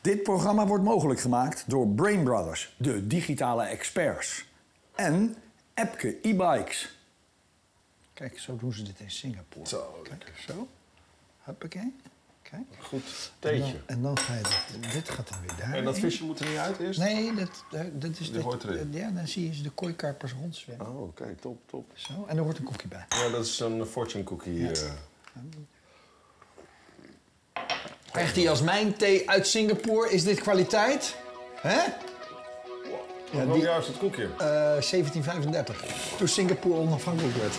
Dit programma wordt mogelijk gemaakt door Brain Brothers, de digitale experts. En Epke e-bikes. Kijk, zo doen ze dit in Singapore. Zo, Kijk, zo. Huppakee. Kijk. Goed En theetje. dan, en dan ga je dit, dit gaat dan weer daar. En dat visje moet er niet uit eerst? Nee, dat, eh, dat is Die dit- hoort erin. Ja, dan zie je ze de kooikarpers rondzwemmen. Oh, kijk, top, top. Zo, en er hoort een koekje bij. Ja, dat is een fortune cookie. eh. Echt die jasmijn thee uit Singapore, is dit kwaliteit? Hè? Hoe die- jaar is het koekje? Eh, 1735, toen Singapore onafhankelijk werd.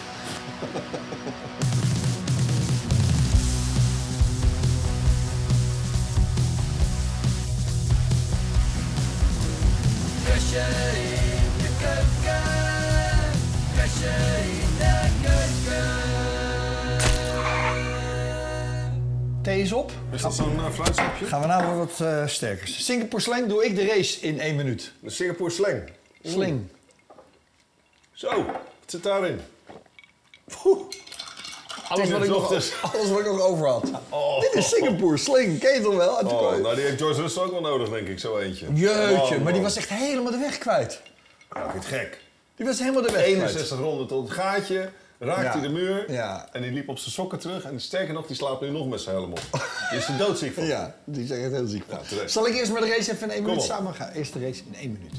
Thee is op. Is dat zo'n eh, fluitstapje? Gaan we nou weer wat eh, sterkers. Singapore slang doe ik de race in één minuut. De Singapore slang. Sling. Zo, wat zit daarin? Alles wat, ik nog, Ochtends. alles wat ik nog over had. Oh. dus- Dit is Singapore sling, ken je toch wel? Uit de Oh, kooi. nou die heeft George Russell ook wel nodig, denk ik, zo eentje. Jeetje, maar Man, die man. was echt helemaal de weg kwijt. Ja, ik vind het gek. Die was helemaal de weg kwijt. 61 ronden tot het gaatje, raakt Ja. hij de muur Ja. en die liep op zijn sokken terug. En sterker nog, die slaapt nu nog met zijn helm op. Die is er doodziek van. Ja, die zijn echt heel ziek van. Ja, terecht. Zal ik eerst maar de race even in één minuut op. samen gaan? Eerst de race in één minuut.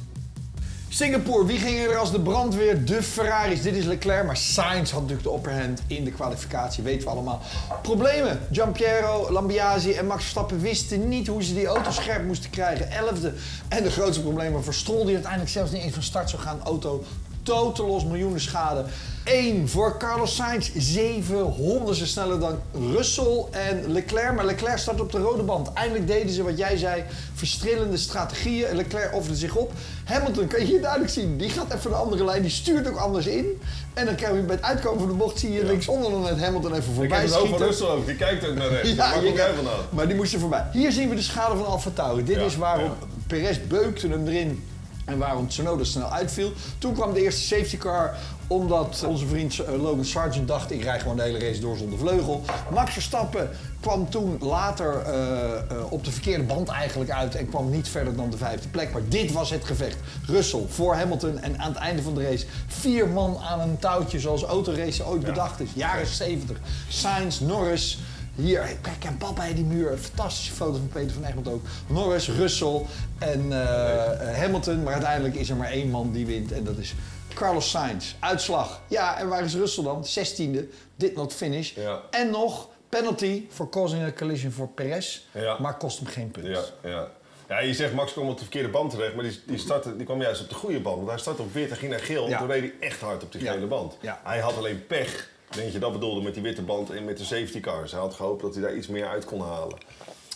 Singapore, wie ging er als de brandweer? De Ferraris, dit is Leclerc. Maar Sainz had natuurlijk de opperhand in de kwalificatie, weten we allemaal. Problemen, Giampiero, Lambiasi en Max Verstappen wisten niet hoe ze die auto scherp moesten krijgen. Elfde. En de grootste problemen voor Stroll, die uiteindelijk zelfs niet eens van start zou gaan. Auto totaal los, miljoenen schade. Eén voor Carlos Sainz, zeven honderdste sneller dan Russell en Leclerc. Maar Leclerc start op de rode band. Eindelijk deden ze wat jij zei, verstrillende strategieën. Leclerc offerde zich op. Hamilton, kan je hier duidelijk zien, die gaat even de andere lijn. Die stuurt ook anders in. En dan krijg je bij het uitkomen van de bocht, zie je linksonder dan net Hamilton even Ik voorbij heb het ook van schieten. Russell ook, die kijkt ook naar rechts. Ja, Waar je komt kan- hij vandaan? maar die moest er voorbij. Hier zien we de schade van Alfa Tauri. Dit Ja, is waarom ja. Perez beukte hem erin en waarom Tsunoda snel uitviel. Toen kwam de eerste safety car omdat onze vriend eh, Logan Sargent dacht... ik rij gewoon de hele race door zonder vleugel. Max Verstappen kwam toen later eh, eh, op de verkeerde band eigenlijk uit... en kwam niet verder dan de vijfde plek. Maar dit was het gevecht. Russell voor Hamilton en aan het einde van de race... vier man aan een touwtje zoals autoracen ooit bedacht is. Jaren 70. Sainz, Norris... Hier, kijk, en papa bij die muur. Een fantastische foto van Peter van Egmond ook. Norris, Russell en eh, eh, Hamilton. Maar uiteindelijk is er maar één man die wint en dat is Carlos Sainz. Uitslag. Ja, en waar is Russell dan? 16e, did not finish. Ja. En nog penalty voor causing a collision voor Perez. Ja. Maar kost hem geen punt. Ja, ja. Ja, je zegt Max kwam op de verkeerde band terecht, maar die, die, startte, die kwam juist op de goede band. Want hij startte op wit en ging naar geel, Ja. toen reed hij echt hard op die Ja. gele band. Ja. Hij had alleen pech, denk je, dat bedoelde met die witte band en met de safety cars. Hij had gehoopt dat hij daar iets meer uit kon halen.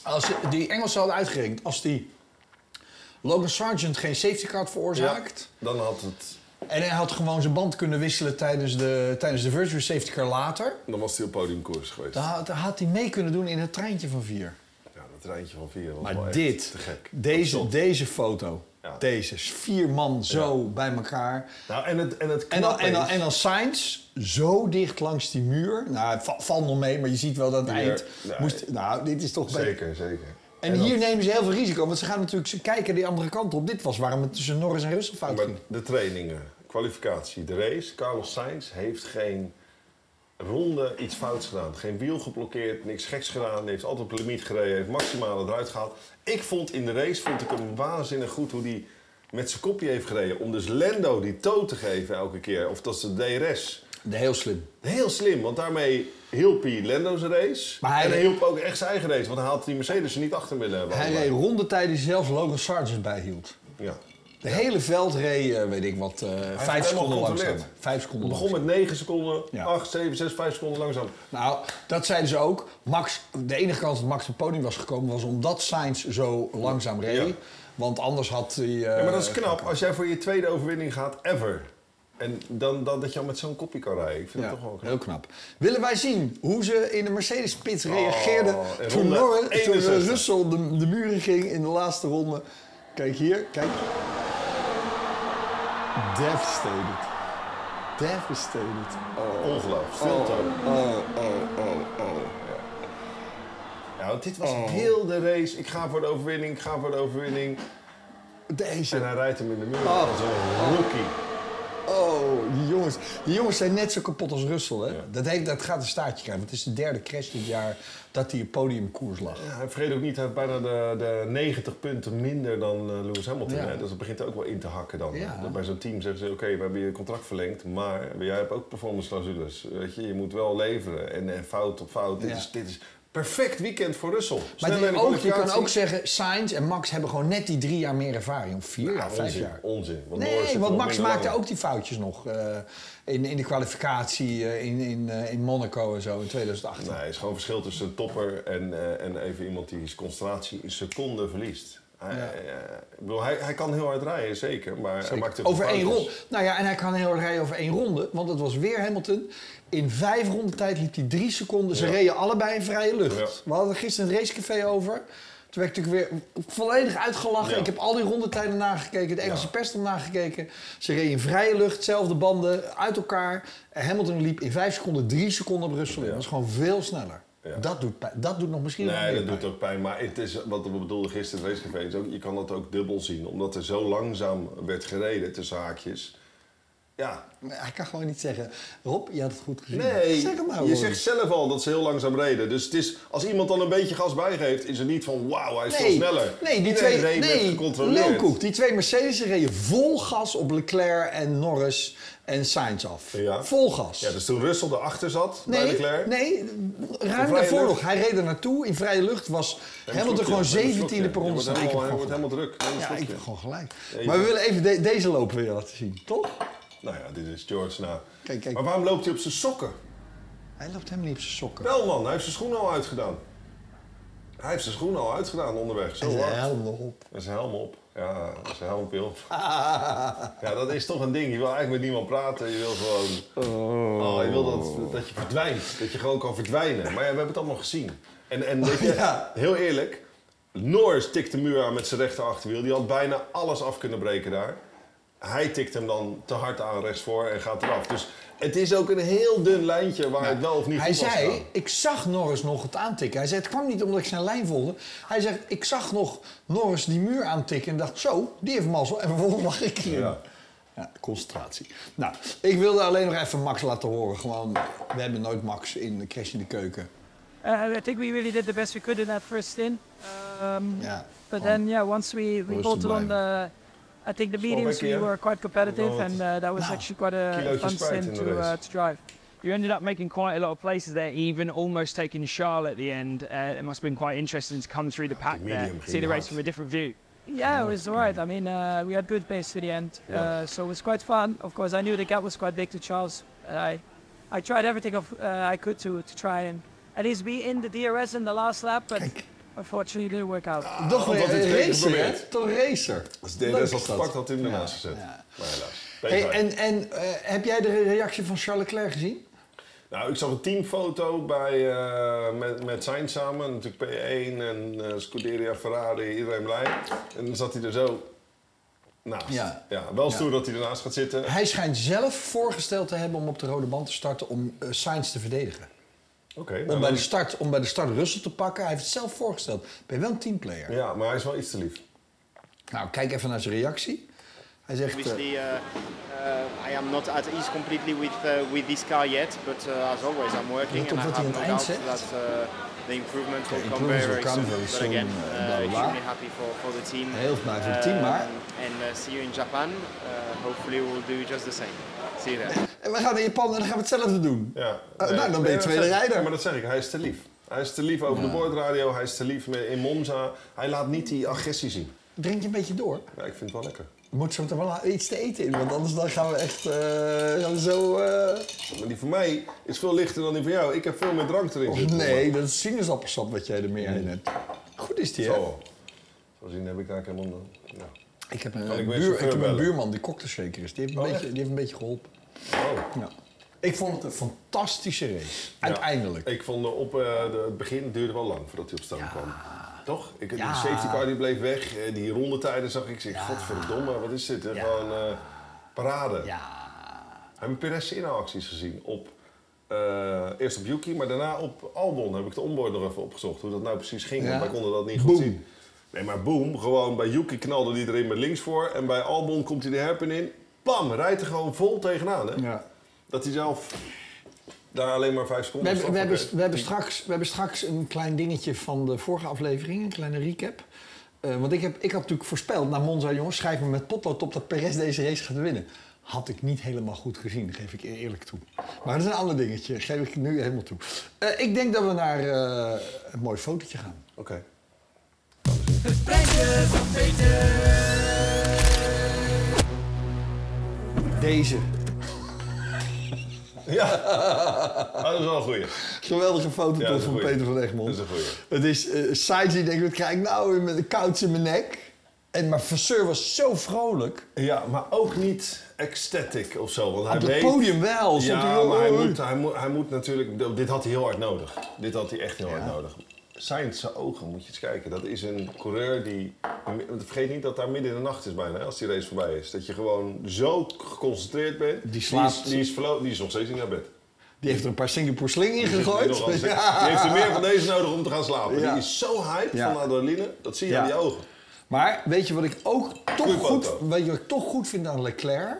Als die Engelsen hadden uitgerekend, als die Logan Sargent geen safety card veroorzaakt... Ja, dan had het... En hij had gewoon zijn band kunnen wisselen tijdens de, tijdens de virtual safety car later. Dan was hij op podiumkoers geweest. Dan had, dan had hij mee kunnen doen in het treintje van vier. Ja, dat rijntje van vier was wel Maar echt dit, te gek. deze, deze foto, Ja. deze, is vier man zo bij elkaar. Nou, en het, en het En dan, knappe en, dan, is- en dan Sainz, zo dicht langs die muur. Nou, het va- valt nog mee, maar je ziet wel dat het Hier, eind... nee. Moest, nou, dit is toch... bij- Zeker, zeker. En, hier nemen ze heel veel risico, want ze gaan natuurlijk ze kijken die andere kant op. Dit was waarom het tussen Norris en Russell fout Maar ging. de trainingen, kwalificatie, de race. Carlos Sainz heeft geen ronde iets fouts gedaan. Geen wiel geblokkeerd, niks geks gedaan. Hij heeft altijd op de limiet gereden, heeft maximale eruit gehaald. Ik vond in de race vond ik hem waanzinnig goed hoe hij met zijn kopje heeft gereden. Om dus Lendo die toon te geven elke keer. Of dat is de DRS. Heel slim. Heel slim, want daarmee hielp hij Lendo zijn race. Maar hij en hij reed- hielp ook echt zijn eigen race. Want hij had die Mercedes er niet achter willen hebben. Hij reed allebei. rondetijden die zelfs Logan Sargent bijhield. Ja. De hele veld reed, eh, weet ik wat, eh, vijf helemaal seconden langzaam. gecontroleerd. Vijf seconden Het langzaam. begon met 9 seconden, Ja. 8, 7, 6, 5 seconden langzaam. Nou, dat zeiden ze ook. Max, de enige kans dat Max op het podium was gekomen was omdat Sainz zo langzaam reed. Ja. Want anders had hij... eh, Ja, maar dat is knap als jij voor je tweede overwinning gaat ever. En dan, dan dat je al met zo'n kopje kan rijden. Ik vind ja, dat toch wel knap. heel knap. Willen wij zien hoe ze in de Mercedes-pit reageerden Oh, in toen, ronde Norris, toen 61. Russell de, de muren ging in de laatste ronde? Kijk hier, kijk. Devastated. Devastated. Oh. Ongelooflijk. Stiltoon. Oh, oh, oh, oh. Nou, dit was heel de race. Ik ga voor de overwinning, ik ga voor de overwinning. Deze. En hij rijdt hem in de muur. Oh. Als een rookie. Oh, die jongens. Die jongens zijn net zo kapot als Russell, hè? Dat, heeft, dat gaat een staartje krijgen. Want het is de derde crash dit jaar dat hij op podiumkoers lag. Ja, en vergeet ook niet, hij heeft bijna de, de 90 punten minder dan eh, Lewis Hamilton. Ja. Hè? Dus dat begint er ook wel in te hakken dan. Ja. Dat Bij zo'n team zeggen ze, oké, we hebben je contract verlengd, maar jij hebt ook performance clausules. Weet je, je moet wel leveren. En, en fout op fout. Ja. Dit, is, dit is perfect weekend voor Russell. Maar Snel het is in de ook, je kan kwalificatie. ook zeggen, Sainz en Max hebben gewoon net die drie jaar meer ervaring. Of vier Ja, jaar, vijf onzin, jaar. onzin. Want Norris Nee, zit want nog Max minder maakte lang. ook die foutjes nog. eh, in, in de kwalificatie eh, in, in, eh, in Monaco en zo in 2018. Nee, er is gewoon verschil tussen een topper en, eh, en even iemand die zijn concentratie in seconden verliest. Hij, Ja. eh, ik bedoel, hij, hij kan heel hard rijden, zeker. Maar hij maakt heel veel Over één foutjes. ronde. Nou ja, en hij kan heel hard rijden over één ronde. Want het was weer Hamilton. In vijf ronden tijd liep hij drie seconden. Ze Ja. reden allebei in vrije lucht. Ja. We hadden er gisteren het racecafé over. Toen werd ik natuurlijk weer volledig uitgelachen. Ja. Ik heb al die rondetijden nagekeken. De Engelse Ja. pers heb nagekeken. Ze reden in vrije lucht. Zelfde banden. Uit elkaar. En Hamilton liep in vijf seconden drie seconden op Russell. in. Ja. Dat is gewoon veel sneller. Ja. Dat, doet, pijn. dat doet nog misschien wel Nee, meer dat pijn. doet ook pijn. Maar het is, wat we bedoelden gisteren in het racecafé, is ook, je kan dat ook dubbel zien. Omdat er zo langzaam werd gereden, tussen haakjes. Ja. Maar Hij kan gewoon niet zeggen... Rob, je had het goed gezien. Nee, Zeg het nou maar, je Rory. zegt zelf al dat ze heel langzaam reden. Dus het is, als iemand dan een beetje gas bijgeeft, is het niet van wauw, hij is veel sneller. Nee, die Iedereen twee, reed met nee, gecontroleerd. Leeuwkoek, die twee Mercedes reden vol gas op Leclerc en Norris en Sainz af. Ja. Vol gas. Ja, dus toen Russell erachter zat, bij Nee, Leclerc. nee, vrije ruim daarvoor lucht. nog. Hij reed er naartoe. In vrije lucht was Neem een Hamilton gewoon slokje, neem een 17e per ronde. slokje. Je wordt staan. Ik heb helemaal, je gewoon wordt gelijk. helemaal druk. Neem een Ja, ik slokje. heb gewoon gelijk. Even. Maar we willen even de- deze lopen weer laten zien, toch? Nou ja, dit is George na. Kijk, kijk. Maar waarom loopt hij op zijn sokken? Hij loopt helemaal niet op zijn sokken. Wel man, hij heeft zijn schoenen al uitgedaan. Hij heeft zijn schoenen al uitgedaan onderweg. Zo Hij hard. helm nog op. En zijn helm op. Ja, zijn helmpje op. Ja, dat is toch een ding. Je wil eigenlijk met niemand praten. Je wil gewoon... Oh. je wil dat, dat je verdwijnt. Dat je gewoon kan verdwijnen. Maar ja, we hebben het allemaal gezien. En, en weet je, Ja. heel eerlijk... Norris tikt de muur aan met zijn rechter achterwiel. Die had bijna alles af kunnen breken daar. Hij tikt hem dan te hard aan rechtsvoor en gaat eraf. Dus het is ook een heel dun lijntje waar het wel of niet Hij goed was zei, gegaan. ik zag Norris nog het aantikken. Hij zei, het kwam niet omdat ik zijn lijn volgde. Hij zegt, ik zag nog Norris die muur aantikken en dacht, zo, die heeft mazzel. En vervolgens lag ik hier. Ja. Ja. concentratie. Nou, ik wilde alleen nog even Max laten horen. Gewoon, we hebben nooit Max in de crash in de keuken. Uh, I think we really did the best we could in that first stint. Um, Yeah, But Oh. um, then, yeah, once we, we was bolted the on blame? the, I think the Slovakia. mediums we were quite Oh, competitive, Well, and uh, that was Wow. actually quite a Kilo's fun just right stint in the to, uh, race. to drive. You ended up making quite a lot of places there, even almost taking Charles at the end. Uh, it must have been quite interesting to come through the pack there, see medium the really race hard. from a different view. Yeah, it was alright. I mean, uh, we had good pace to the end, uh, so it was quite fun. Of course, I knew the gap was quite big to Charles. and I, I tried everything of, uh, I could to to try and at least be in the DRS in the last lap, but unfortunately it didn't work out. Toch want weer dat een is zeker racer, hè? geprobeerd. Toch een racer. Als Leuk DRS had is dat. gepakt, had hij hem ernaast gezet. ja. Maar helaas. Hey, P5. en en eh, heb jij de reactie van Charles Leclerc gezien? Nou, ik zag een teamfoto bij, eh, met, met zijn samen. Natuurlijk P1 en eh, Scuderia, Ferrari, iedereen blij. En dan zat hij er zo naast. Ja. Ja, wel Ja. stoer dat hij ernaast gaat zitten. Oké. Hij schijnt zelf voorgesteld te hebben om op de rode band te starten om eh, Sainz te verdedigen. nou, Om bij, de dan- start, om bij de start Russell te pakken. Hij heeft het zelf voorgesteld. Ben je wel een teamplayer? ja, maar hij is wel iets te lief. Nou, kijk even naar zijn reactie. Hij zegt... eh, Obviously, uh, uh, I am not at ease completely with uh, with this car yet, but uh, as always, I'm working, Let and I op wat hij have aan no het eind doubt zegt. that uh, the improvement will come eh? improvements very, will very come soon. very But soon, again, eh, bla, uh, bla, bla. extremely happy for, for the team. Um, Heel blij voor het team, maar- And uh, see you in Japan. Uh, hopefully, we'll do just the same. See you there. En eh, we gaan naar Japan en dan gaan we hetzelfde doen. Ja. Eh, Nee, nou, dan ben nee, je dat tweede zeg ik. rijder. Ja, maar dat zeg ik, hij is te lief. Hij is te lief over de boordradio, hij is te lief in Monza. Hij laat niet die agressie zien. Drink je een beetje door. Ja, ik vind het wel lekker. Moet zo meteen wel iets te eten in, want anders dan gaan we echt eh, gaan we zo... eh, Maar die van mij is veel lichter dan die van jou. Ik heb veel meer drank erin. of zitten. Oh, nee, dat is sinaasappelsap wat jij er meer in hebt. Goed is die, hè? Mm. Zo. Zo zien heb ik daar helemaal... Ja. Ik heb een, Kan ik weer buur, chauffeur ik heb een bellen? buurman die cocktailshaker is. Die heeft een, Oh, beetje, echt? die heeft een beetje geholpen. Oh. Ja. Ik vond het een fantastische race. Uiteindelijk. Ja, ik vond eh, op eh, de, het begin het duurde wel lang voordat hij op stoom kwam. Toch? Ik, Ja. Die safety car die bleef weg. eh, die rondetijden zag ik. Ik zeg, godverdomme, wat is dit? Ja. Gewoon eh, parade. Ja. Hebben we Perez acties gezien op eh, eh, eerst op Yuki, maar daarna op Albon heb ik de onboard nog even opgezocht. Hoe dat nou precies ging, Ja. want wij konden dat niet goed Boom. zien. Nee, maar boom, gewoon bij Yuki knalde hij erin met links voor. En bij Albon komt hij de herpen in. Bam, rijdt er gewoon vol tegenaan. Hè? Ja. Dat hij zelf daar alleen maar vijf We seconden hebben, we, straf op hebben, heeft. we, hebben straks, we hebben straks een klein dingetje van de vorige aflevering, een kleine recap. Eh, want ik, heb, ik had natuurlijk voorspeld naar Monza, jongens, schrijf me met potlood op dat Perez deze race gaat winnen. Had ik niet helemaal goed gezien, geef ik eer- eerlijk toe. Maar dat is een ander dingetje, geef ik nu helemaal toe. Eh, ik denk dat we naar eh, een mooi fotootje gaan. Oké. Deze. Ja, Ah, dat is wel een goeie. Geweldige foto Ja, toch dat is van een goeie. Peter van Egmond. Dat is een goeie. Het is eh Sainz die denkt, wat krijg ik nou weer met een koudje in mijn nek? En, maar Vasseur was zo vrolijk. Ja, maar ook niet ecstatic of zo. Want hij Op het weet- podium wel. stond Ja, hij, maar hij "Hoi." moet, hij, moet, hij moet natuurlijk... Dit had hij heel hard nodig. Dit had hij echt heel hard nodig. Sainz zijn ogen, moet je eens kijken. Dat is een coureur die... want Vergeet niet dat daar midden in de nacht is bijna, hè, als die race voorbij is. Dat je gewoon zo geconcentreerd bent. Die slaapt. Die is, die is, verlo- die is nog steeds niet naar bed. Die heeft er een paar Singapore sling in Die zit nu nog gegooid. aan het zitten. Die heeft er meer van deze nodig om te gaan slapen. Ja. Die is zo hype Ja. van de adrenaline. Dat zie je Ja. aan die ogen. Maar weet je wat ik ook toch Goeie goed, foto. weet je wat ik toch goed vind aan Leclerc?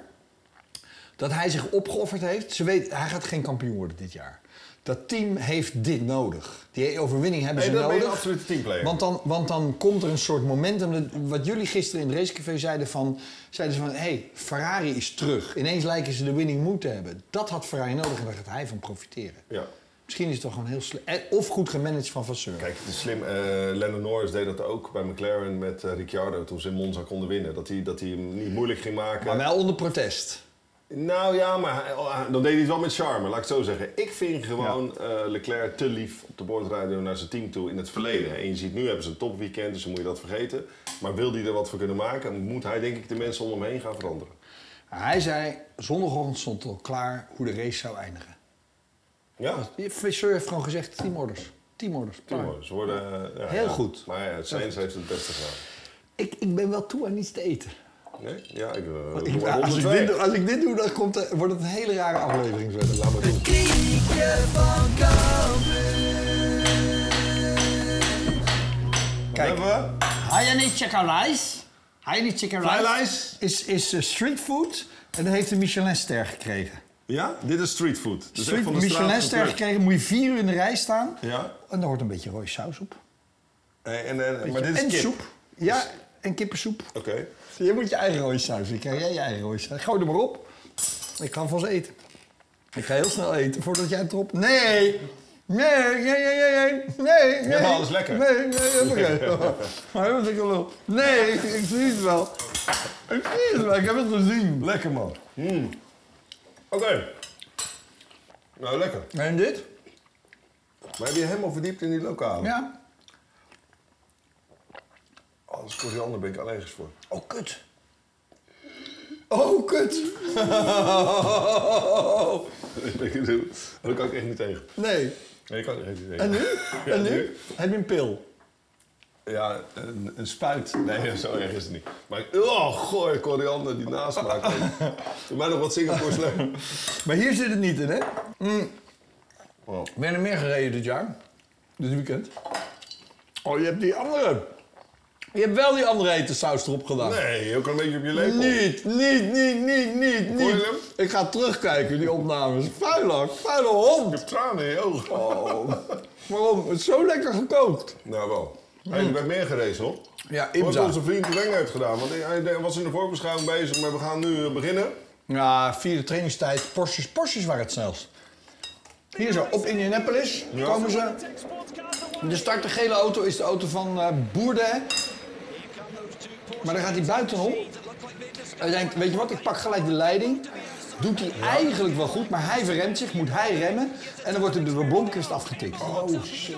Dat hij zich opgeofferd heeft. Ze weet, hij gaat geen kampioen worden dit jaar. Dat team heeft dit nodig. Die overwinning hebben Nee, ze dan ben nodig. je een absolute teamplayer. Want dan, want dan komt er een soort momentum. Dat- Wat jullie gisteren in het racecafé zeiden van... Zeiden ze van, hé, hey, Ferrari is terug. Ineens lijken ze de winning moeten hebben. Dat had Ferrari nodig en daar gaat hij van profiteren. Ja. Misschien is het toch gewoon heel slecht. eh, Of goed gemanaged van Vasseur. Kijk, het is slim. Eh Lennon Norris deed dat ook bij McLaren met eh, Ricciardo toen ze in Monza konden winnen. Dat hij, dat hij hem niet moeilijk ging maken. Maar wel onder protest. Nou ja, maar hij- oh, hij- dan deed hij het wel met charme, laat ik het zo zeggen. Ik vind gewoon eh, Leclerc te lief op de boordrijder naar zijn team toe in het verleden. En je ziet nu hebben ze een topweekend, dus dan moet je dat vergeten. Maar wil hij er wat voor kunnen maken, moet hij denk ik de mensen om hem heen gaan veranderen. Hij zei, zondagochtend stond al klaar hoe de race zou eindigen. Ja, Visseur heeft gewoon gezegd, teamorders. Teamorders, klaar. teamhoor. Ze worden... eh, ja, Heel ja. goed. Maar ja, Sainz heeft het beste gedaan. Ik, ik ben wel toe aan iets te eten. Nee? Ja, ik... eh, Ik- doe maar als, ik 102. dit, doe- als ik dit doe, dan komt er, wordt het een hele rare aflevering verder. Laat maar doen. Wat hebben we? Haiyani chicken rice. Haiyani chicken Fly rice is, lice? is eh, street food en dat heeft een Michelinster gekregen. Ja? Dit is streetfood. Dus echt Street, van de straat Michelinster geplukt. gekregen, moet je vier uur in de rij staan. Ja. En daar hoort een beetje rode saus op. Eh, en, eh, maar dit is en kip. Dus- soep. Ja, en kippensoep. Oké. Je moet je eigen rode saus. Ik krijg jij je eigen rode saus. Gooi er maar op. Ik ga vast eten. Ik ga heel snel eten voordat jij het erop. Nee! Nee, nee, nee, nee, nee, nee. nee. maar alles lekker. Nee, nee, oké. Maar dat vind ik wel. Nee, ik, ik zie het wel. Ik zie het wel, ik heb het gezien. Lekker man. Hmm. Oké. Nou, lekker. En dit? Maar heb je helemaal verdiept in die lokale? Ja. Als koriander ben ik allergisch voor. Oh, kut. Oh, kut. Daar oh, kan ik echt niet tegen. Nee. Nee, daar kan ik echt niet tegen. En nu? Ja, En nu? nu? Heb je een pil? Ja, een, een spuit. Nee, zo erg is het niet. Maar oh, gooi koriander die nasmaak. Doe mij nog wat Singapore slim. Maar hier zit het niet in, hè? Wow. Ben je er meer gereden dit jaar? Dit weekend? Oh, je hebt die andere. Je hebt wel die andere etensaus erop gedaan. Nee, je ook een beetje op je lepel. Niet, niet, niet, niet, niet, Hoor je niet. hem? Ik ga terugkijken, die opnames. Vuilak, vuile hond. Je hebt tranen in je ogen. Oh, waarom? Het is zo lekker gekookt. Nou wel. Hij werd meer gereden, hoor. Ja, Wat Imza. onze vriend de Weng heeft gedaan. Want hij hij was in de voorbeschouwing bezig, maar we gaan nu eh, beginnen. Ja, vierde trainingstijd. Porsches, Porsches waren het snelst. Hier zo, op Indianapolis Ja. komen ze. De start, de gele auto, is de auto van eh Boerde. Maar dan gaat hij buitenom. Hij denkt, weet je wat, ik pak gelijk de leiding. Doet hij eigenlijk wel goed, maar hij verremt zich, moet hij remmen. En dan wordt hij door de blomkist afgetikt. Oh, shit.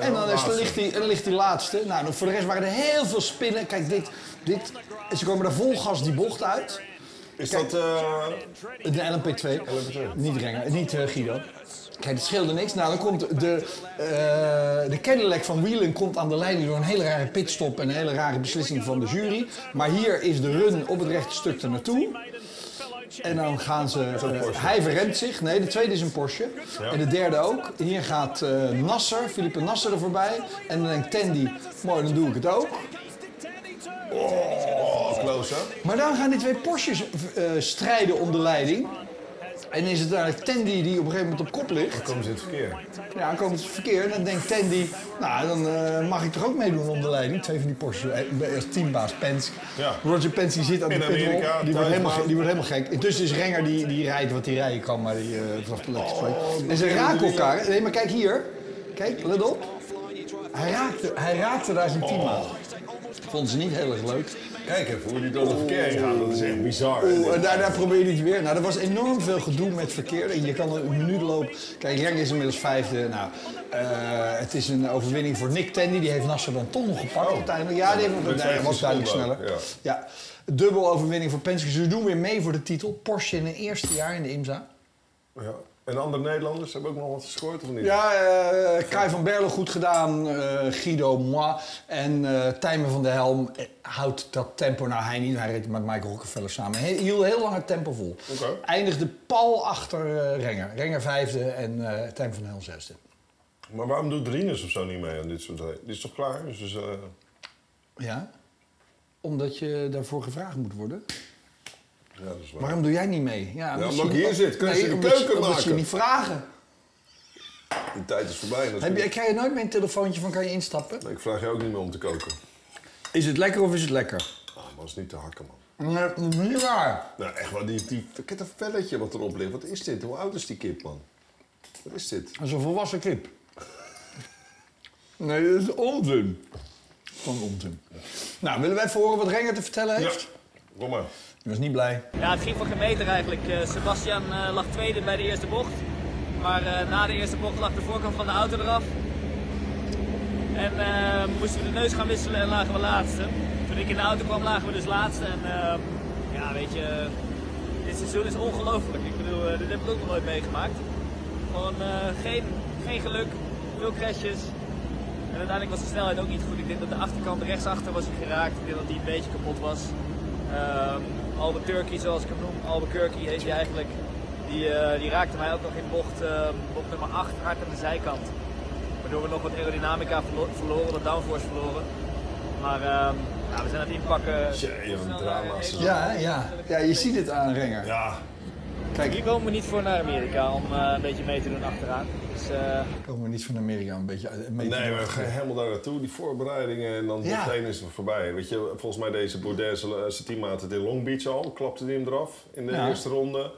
En dan, is, dan, ligt die, en dan ligt die laatste. Nou, dan voor de rest waren er heel veel spinnen. Kijk, dit, dit, ze komen daar vol gas die bocht uit. Is dat... eh, De LMP2. Niet Renger, niet eh, Guido. Kijk, het scheelde niks. Nou, dan komt de, eh, de Cadillac van Whelan komt aan de leiding door een hele rare pitstop en een hele rare beslissing van de jury. Maar hier is de run op het rechte stuk ernaartoe. En dan gaan ze... eh, hij verremt zich. Nee, de tweede is een Porsche. En de derde ook. En hier gaat eh, Nasser, Philippe Nasser er voorbij. En dan denkt Tandy, mooi, dan doe ik het ook. Oh, close up. Maar dan gaan die twee Porsches eh, strijden om de leiding. En is het eigenlijk Tandy die op een gegeven moment op kop ligt. Komen ze in het verkeer. Ja, dan komt het verkeer en dan denkt Tandy, nou dan eh, mag ik toch ook meedoen om de leiding. Twee van die Porsche, als eh, teambaas Pence. Ja. Roger Pence die zit aan In de pitrol, die, Amerika, wordt thuis, helemaal, maar- ge- die wordt helemaal gek. Intussen is Renger die, die rijdt wat hij rijden kan, maar die eh vanaf de Oh, lekkere plek. En ze raken elkaar. Nee, maar kijk hier. Kijk, let op. Hij raakte, hij raakte daar zijn teammaat. Vonden ze niet heel erg leuk. Oh. Kijk even hoe die door het verkeer heen gaan. Dat is echt bizar. Oeh, en daarna probeer je het weer. Nou, er was enorm veel gedoe met verkeer. En je kan er een minuut lopen. Kijk, Reng is inmiddels vijfde. Nou, eh, het is een overwinning voor Nick Tandy. Die heeft Nasser dan toch nog gepakt uiteindelijk. Ja, die heeft, Met nee, hij was 15 duidelijk seconden, sneller. Ja. Dubbel overwinning voor Penske. Ze doen weer mee voor de titel. Porsche in hun eerste jaar in de IMSA. Ja. En andere Nederlanders hebben ook nog wat gescoord of niet? Ja, eh Kai van Berlo goed gedaan. eh, Guido Moi en eh Tijmen van der Helm eh, houdt dat tempo. Nou, hij niet. Hij reed met Michael Rockefeller samen. Hij hield heel lang het tempo vol. Oké. Eindigde pal achter eh, Renger. Renger vijfde en eh Tijmen van der Helm zesde. Maar waarom doet Rinus of zo niet mee aan dit soort dingen? Dit is toch klaar? Dus, eh, Ja? Omdat je daarvoor gevraagd moet worden. ja, dat is waar. Waarom doe jij niet mee? Ja, omdat je- ik hier zit. Kunnen ze de omdat je- keuken omdat ze je maken? niet vragen. De tijd is voorbij. natuurlijk. Heb je, krijg je nooit meer een telefoontje van kan je instappen? Nee, ik vraag je ook niet meer om te koken. Is het lekker of is het lekker? Ah, maar dat is niet te hakken, man. Nee, dat is niet waar. Nou, echt wel. Die, die, kijk dat velletje wat erop ligt. Wat is dit? Hoe oud is die kip, man? Wat is dit? Dat is een volwassen kip. Nee, dat is onzin. Gewoon onzin. Nou, willen wij even horen wat Renger te vertellen heeft? Kom maar. Die was niet blij. Ja, het ging voor geen meter eigenlijk. Eh, Sebastian eh, lag tweede bij de eerste bocht. Maar eh, na de eerste bocht lag de voorkant van de auto eraf. En eh, moesten we de neus gaan wisselen en lagen we laatste. Toen ik in de auto kwam lagen we dus laatste. En eh, ja, weet je, dit seizoen is ongelooflijk. Ik bedoel, eh, dit heb ik ook nog nooit meegemaakt. Gewoon eh, geen, geen geluk, veel crashes. En uiteindelijk was de snelheid ook niet goed. Ik denk dat de achterkant rechtsachter was geraakt. Ik denk dat die een beetje kapot was. Ehm Albuquerque, zoals ik hem noem, Albuquerque heet hij eigenlijk. Die, eh, die raakte mij ook nog in bocht, eh, bocht nummer 8 hard aan de zijkant. Waardoor we nog wat aerodynamica verlo- verloren, wat downforce verloren. Maar ehm, nou, we zijn aan het inpakken. Jee, wat een drama's. Ja, hè? ja. Ja, je ziet het aan Renger. Ja, Kijk, Hier ik komen we niet voor naar Amerika om eh, een beetje mee te doen achteraan. Dus, eh, kom maar niet van Amerika een beetje uit. Mee Nee, we gaan helemaal daar naartoe, die voorbereidingen en dan eh, Ja. meteen is het voorbij. Weet je, volgens mij deze Boudet, zijn eh, zijn teammaat het in Long Beach al, klapte die hem eraf in de Ja. eerste ronde.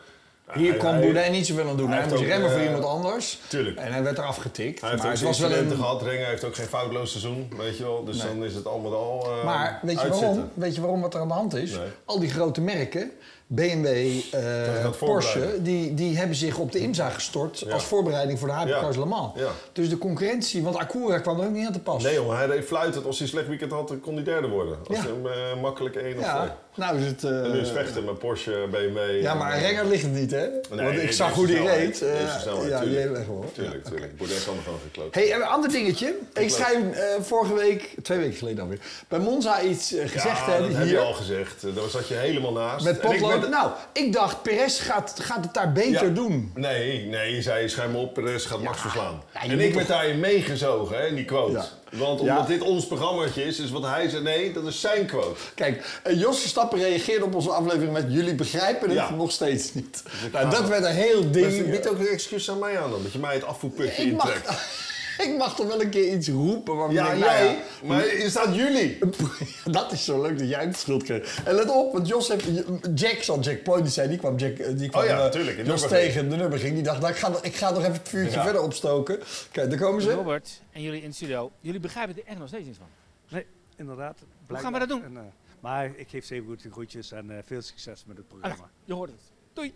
Ja, Hier hij- kon hij- Boudin niet zoveel aan doen. hij Hij, heeft moest ook, remmen voor eh, iemand anders. tuurlijk. En hij werd eraf getikt. Hij heeft maar het ook zijn was wel incidenten een... gehad, Renger heeft ook geen foutloos seizoen, weet je wel. Dus dan is het allemaal al eh, Maar weet je, uitzitten. waarom? weet je waarom wat er aan de hand is? Nee. Al die grote merken, BMW, eh, dat Porsche, voorbereiden. die, die hebben zich op de IMSA gestort als voorbereiding voor de hypercars Ja. Le Mans. Ja. Dus de concurrentie, want Acura kwam er ook niet aan te pas. Nee joh, hij reed fluitend. Als hij een slecht weekend had, dan kon hij derde worden. Als Ja. hij hem eh, makkelijk één of twee. ja, nou is het... eh, En nu is vechten met Porsche, BMW. ja, maar aan en- Renger ligt het niet, hè? want ik deze zag hoe die snelheid, reed. deze Eh, snelheid, ja, die tuurlijk. hebben echt wel. Tuurlijk, tuurlijk. Boudet kan er gewoon geen kloot. Hey, en een ander dingetje. Ik schrijf eh, vorige week, twee weken geleden alweer, bij Monza iets eh, gezegd ja, dat hebben heb hier. je al gezegd. Eh, Daar zat je helemaal naast. Met En ik potlood. werd- Nou, ik dacht, Perez gaat, gaat het daar Ja. beter doen. Nee, nee, je zei schuim op, de rest gaat Max verslaan. Ja, je en moet ik werd toch- daarin meegezogen, hè, in die quote. Ja. Want omdat Ja. dit ons programmaatje is, is wat hij zei, nee, dat is zijn quote. Kijk, eh, Jos Verstappen reageerde op onze aflevering met jullie begrijpen het Ja. Dus nog steeds niet. ik Nou, ga dat wel. werd een heel Dus je ding. biedt ook een excuus aan mij aan dan, dat je mij het afvoerputje ik, mag, intrekt. ik mag toch wel een keer iets roepen. waarvan Ja, ik, nou jij, maar er staat jullie. ja, dat is zo leuk dat jij het schuld kreeg. En let op, want Jos heeft... Jack zal Jack Point niet zijn. Die kwam, Jack, eh, die kwam Oh ja, eh, tuurlijk, in Jos Nürburgring. tegen de Nürburgring. Die dacht, nou, ik, ga, nog- ik ga nog even het vuurtje Ja. verder opstoken. Kijk, daar komen ze. Robert en jullie in de studio, jullie begrijpen er echt nog steeds niets van. Nee, inderdaad. Hoe gaan we dat doen? En, eh, maar ik geef zeer goed de groetjes en eh, veel succes met het programma. Je hoort het. Doei.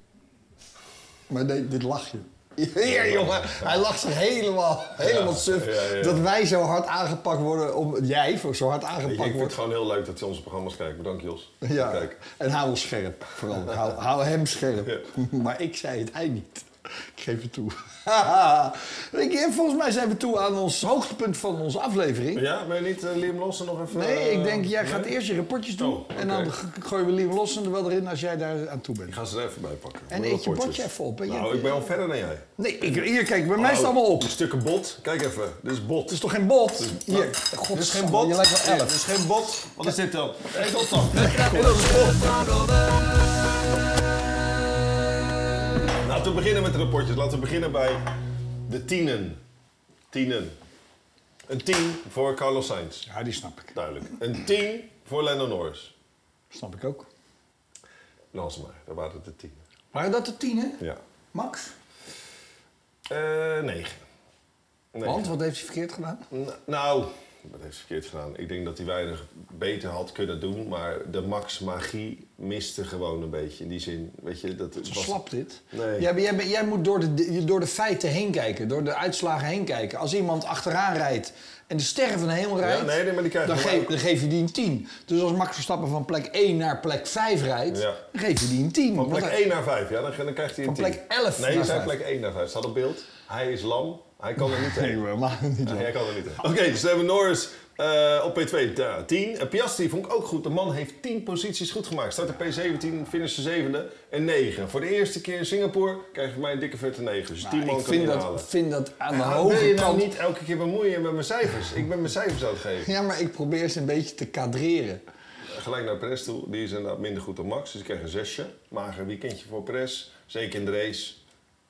Maar nee, dit lachje. Ja, jongen. Hij lacht zich helemaal, helemaal suf. ja, ja. Dat wij zo hard aangepakt worden om... Jij zo hard Weet je, ik aangepakt vind het wordt. gewoon heel leuk dat je onze programma's kijkt. Bedankt, Jos. Ja, Kijk. en hou ons scherp. Vooral, hou, hou hem scherp. Ja. maar ik zei het, hij niet. Ik geef het toe. Ik- eh, volgens mij zijn we toe aan ons hoogtepunt van onze aflevering. Ja, ben je niet eh, Liam Lawson nog even... Nee, eh, ik denk, jij gaat nee? eerst je rapportjes doen. Oh, oké. En dan g- gooien we Liam Lawson er wel erin als jij daar aan toe Ik bent. ga ze er even bij pakken. En Hoor eet je rapportjes. bordje even op, hè? Je- Nou, ik ben al verder dan jij. Nee, ik, hier, kijk, bij mij is het Oh, allemaal op. die Het stukken bot. Kijk even. Dit is bot. Nou, is toch geen bot? Hier, Dit is geen godsamme, bot. je lijkt wel Dit elf. is geen bot. Wat is dit dan? Hé, hey, dat dan. Laten we Nou, beginnen met de rapportjes. Laten we beginnen bij de tienen. Tienen. Een tien voor Carlos Sainz. Ja, die snap ik. Duidelijk. Een tien voor Lando Norris. Snap ik ook. Lans maar, daar waren het de tien. Waren dat de tien, hè? Ja. Max? Eh, negen. Negen. Want, wat heeft hij verkeerd gedaan? N- Nou, dat heeft ze verkeerd gedaan. Ik denk dat hij weinig beter had kunnen doen, maar de max-magie miste gewoon een beetje. In die zin, weet je, dat Zo slap dit. Nee. Jij, bent- jij, bent- jij moet door de, de- door de feiten heen kijken, door de uitslagen heen kijken. Als iemand achteraan rijdt en de sterren van de hemel rijdt, nee, nee, maar die krijgt dan, hem geef, ook. dan geef je die een 10. Dus als Max Verstappen van plek 1 naar plek 5 rijdt, Ja. dan geef je die een 10. Van Want plek hij- 1 naar 5, ja, dan, dan krijgt hij een Van 10. plek 11 Nee, hij naar zei vijf. plek 1 naar 5. Staat op beeld. Hij is lam, hij kan er niet Nee, heen. we maken het niet Nee, lang. hij kan er niet heen. Oké, dus dan hebben we Norris eh, op P2 ja, 10. En Eh, Piastri vond ik ook goed. De man heeft 10 posities goed gemaakt. Start op P17, finish de zevende en 9. Voor de eerste keer in Singapore krijg je mij een dikke vette 9. Dus 10 man Ah, ik kan vind hij dat, halen. vind dat aan de Ah, wil hoge je nou kant. niet elke keer bemoeien met mijn cijfers? Ik ben mijn cijfers aan het geven. Ja, maar ik probeer ze een beetje te kadreren. Gelijk naar Perez toe. Die is inderdaad minder goed dan Max. Dus ik krijg een zesje. Mager weekendje voor Perez. Zeker in de race.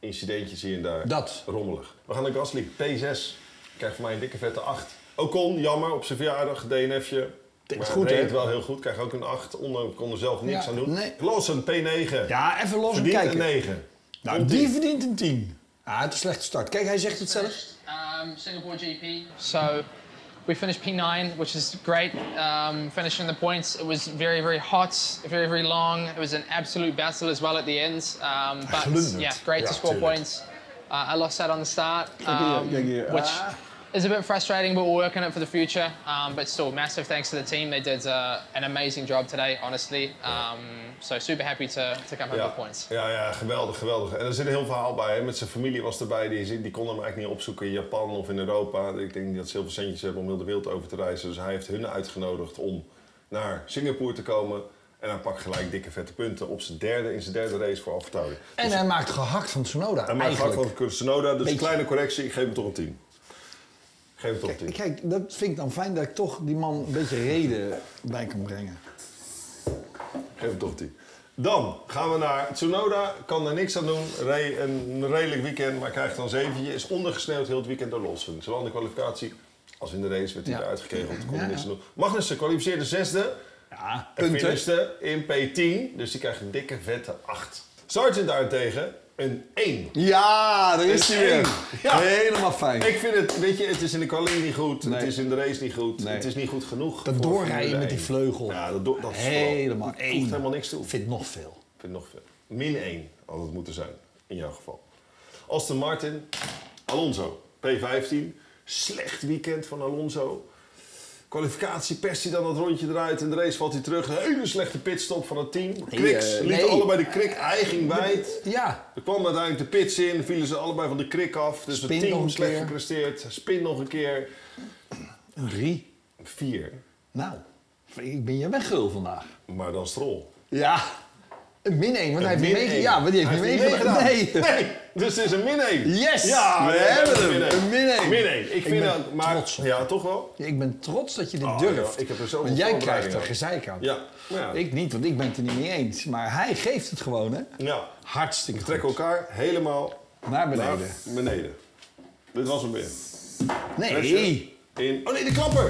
Incidentjes hier en daar. Dat. Rommelig. We gaan naar Gasly. P6. Krijgt van mij een dikke vette 8. Ocon, jammer. Op zijn verjaardag. DNFje. is Maar goed, reed hè? het wel heel goed. Krijg ook een 8. Ondanks kon er zelf niks Ja, aan doen. nee. Lawson, P9. Ja, even los en Verdient een kijken. 9. Nou, die verdient een 10. Ah, het is een slechte start. Kijk, hij zegt het zelf. Um, Singapore GP. So we finished P9, which is great. Um, finishing the points, it was very, very hot, very, very long. It was an absolute battle as well at the end. Um, but Glundered. yeah, great Yeah, to score too. points. Uh, I lost that on the start, um, yeah, yeah. which Ah. is a bit frustrating, but we'll work on it for the future. Um, but still, massive thanks to the team. They did uh, an amazing job today, honestly. Um, so super happy to, to come home Ja. with points. Ja, ja, geweldig, geweldig. En er zit een heel verhaal bij. Hè? Met zijn familie was erbij. Die, zit- die kon hem eigenlijk niet opzoeken in Japan of in Europa. Ik denk niet dat ze heel veel centjes hebben om heel de wereld over te reizen. Dus hij heeft hun uitgenodigd om naar Singapore te komen. En hij pakt gelijk dikke vette punten op zijn derde, in zijn derde race voor Alphatauri. En hij maakt gehakt van Tsunoda. En mijn eigenlijk. gehakt van Tsunoda, dus een Beetje. kleine correctie. Ik geef hem toch een 10. Ik geef hem toch een 10. Kijk, kijk, dat vind ik dan fijn dat ik toch die man een beetje reden bij kan brengen. Geef hem toch een 10. Dan gaan we naar Tsunoda. Kan er niks aan doen. Reed een redelijk weekend, maar krijgt dan zeventje. Is ondergesneeuwd heel het weekend door Lawson. Zowel in de kwalificatie als in de race werd hij Ja. eruit gekegeld. Kon Ja, er niks ja. aan doen. Magnussen kwalificeerde zesde. Ja, En punten. finishte in P10. Dus die krijgt een dikke vette 8. Sargent daarentegen een 1. Ja, daar is Een hij weer. één. Ja. Helemaal fijn. Ik vind het, weet je, het is in de kwalie niet goed. Nee. Het is in de race niet goed. Nee. Het is niet goed genoeg. Dat voor doorrijden Formule met die 1. vleugel. Ja, dat, do- dat is vooral- Helemaal dat voegt één. helemaal niks toe. Vindt nog veel. Ik vind het nog veel. Min 1 had het moeten zijn, in jouw geval. Aston Martin, Alonso, P15. Slecht weekend van Alonso. Kwalificatie perst hij dan dat rondje eruit. en de race valt hij terug. Een hele slechte pitstop van het team. Kriks eh, lieten nee. allebei de krik. Hij ging wijd. Ja, Er kwam uiteindelijk de pits in. Vielen ze allebei van de krik af. Dus Spin het nog team een slecht keer. gepresteerd. Spin nog een keer. een drie. Vier. Nou, ik ben je weggul vandaag. Maar dan strol. Ja, een min 1, want hij heeft niet Min meegedaan. één. Ja, want die heeft niet meegedaan. Nee. Nee, dus het is een min 1. Yes, Ja, we nee, hebben dat is hem. Een min één. Min 1. Ik, Ik vind ben dat, maar, trots op. Ja, toch wel? Ja, Ik ben trots dat je dit Oh, durft. ja, ik heb er zoveel want jij voorbereiding krijgt er aan. gezeik aan. Ja, maar ja. Ik niet, want ik ben het er niet mee eens. Maar hij geeft het gewoon, hè? Ja. Hartstikke We trekken goed. elkaar helemaal Naar beneden. naar beneden. Dit was hem weer. Nee. Presje In, oh nee, de klapper!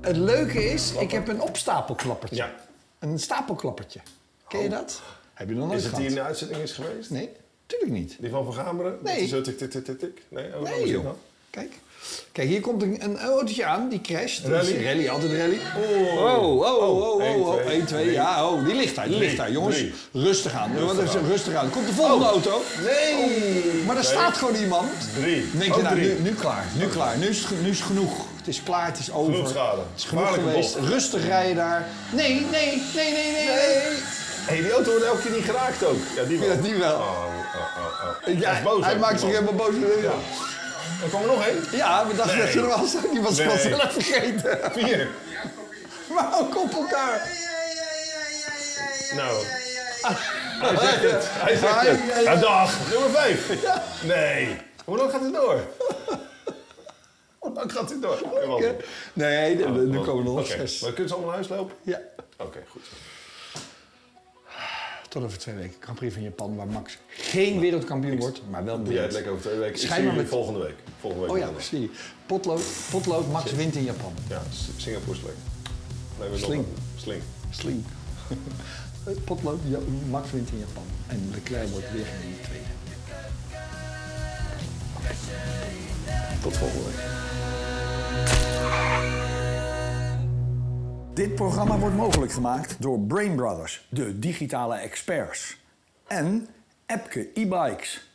Het leuke is, ik heb een opstapelklappertje. Ja. Oh. Een stapelklappertje. Ken je dat? Heb je nog nooit Is het gehad? die eh, in de uitzending is geweest? Oh, Nee, tuurlijk niet. Die van Van Gameren? Dat Nee. hij Zo tik, tik, tik, tik, tik? Nee, oh, hoe Nee, zit joh. dat? Kijk. Kijk, hier komt een, een autootje aan, die crasht. Dat is Rally. een rally, altijd rally. Oh, oh, oh, oh, oh, één, oh, twee, 1, 2, drie. ja, oh, die ligt daar, die Drie, ligt daar, jongens. drie. Oh. Rustig aan, rustig, rustig, aan. rustig aan. Komt de volgende auto. Nee! Maar daar staat gewoon iemand. Drie. Dan denk je, Ook nou, drie. Oh. nu, nu klaar, nu klaar, nu is, het ge- nu is het genoeg. Het is klaar, het is over. Genoeg schade. Het is genoeg Gevaarlijke geweest. bocht. Rustig rijden daar. Nee, nee, nee, nee, nee, nee. Hé, die auto wordt elke keer niet geraakt ook. Ja, die wel. Ja, die wel. Oh, oh, oh, oh. Ja, Hij is boos, hij hè, maakt zich die man. helemaal boos. Ja, Er kwam er nog één. we dachten dat je er was. Die was Nee. vanzelf vergeten. Vier. Maar ook op elkaar. Nou. Hij zegt het. Hij zegt het. Ja, dag. Nummer vijf. Nee. Hoe lang gaat dit door? Hoe lang gaat dit door? Nee, wacht. Nee, er- er Wacht. komen er nog Oké, zes. Maar kunnen ze allemaal naar huis lopen? Ja. Oké, goed. Tot over twee weken. Grand Prix van Japan, waar Max geen wereldkampioen wordt, maar wel Jij het briljant. lekker over twee weken. Ik zie Schijnbaar jullie met- volgende week. Volgende week. Oh ja, maandag. zie je. Potlood, potlood Max wint in Japan. Ja, S- Singapore sling. Nee, we Sling. nog een- Sling. Slim. potlood, Ja- Max wint in Japan. En Leclerc wordt weer geen tweede. Tot volgende week. Dit programma wordt mogelijk gemaakt door Brain Brothers, de digitale experts. En Epke e-bikes.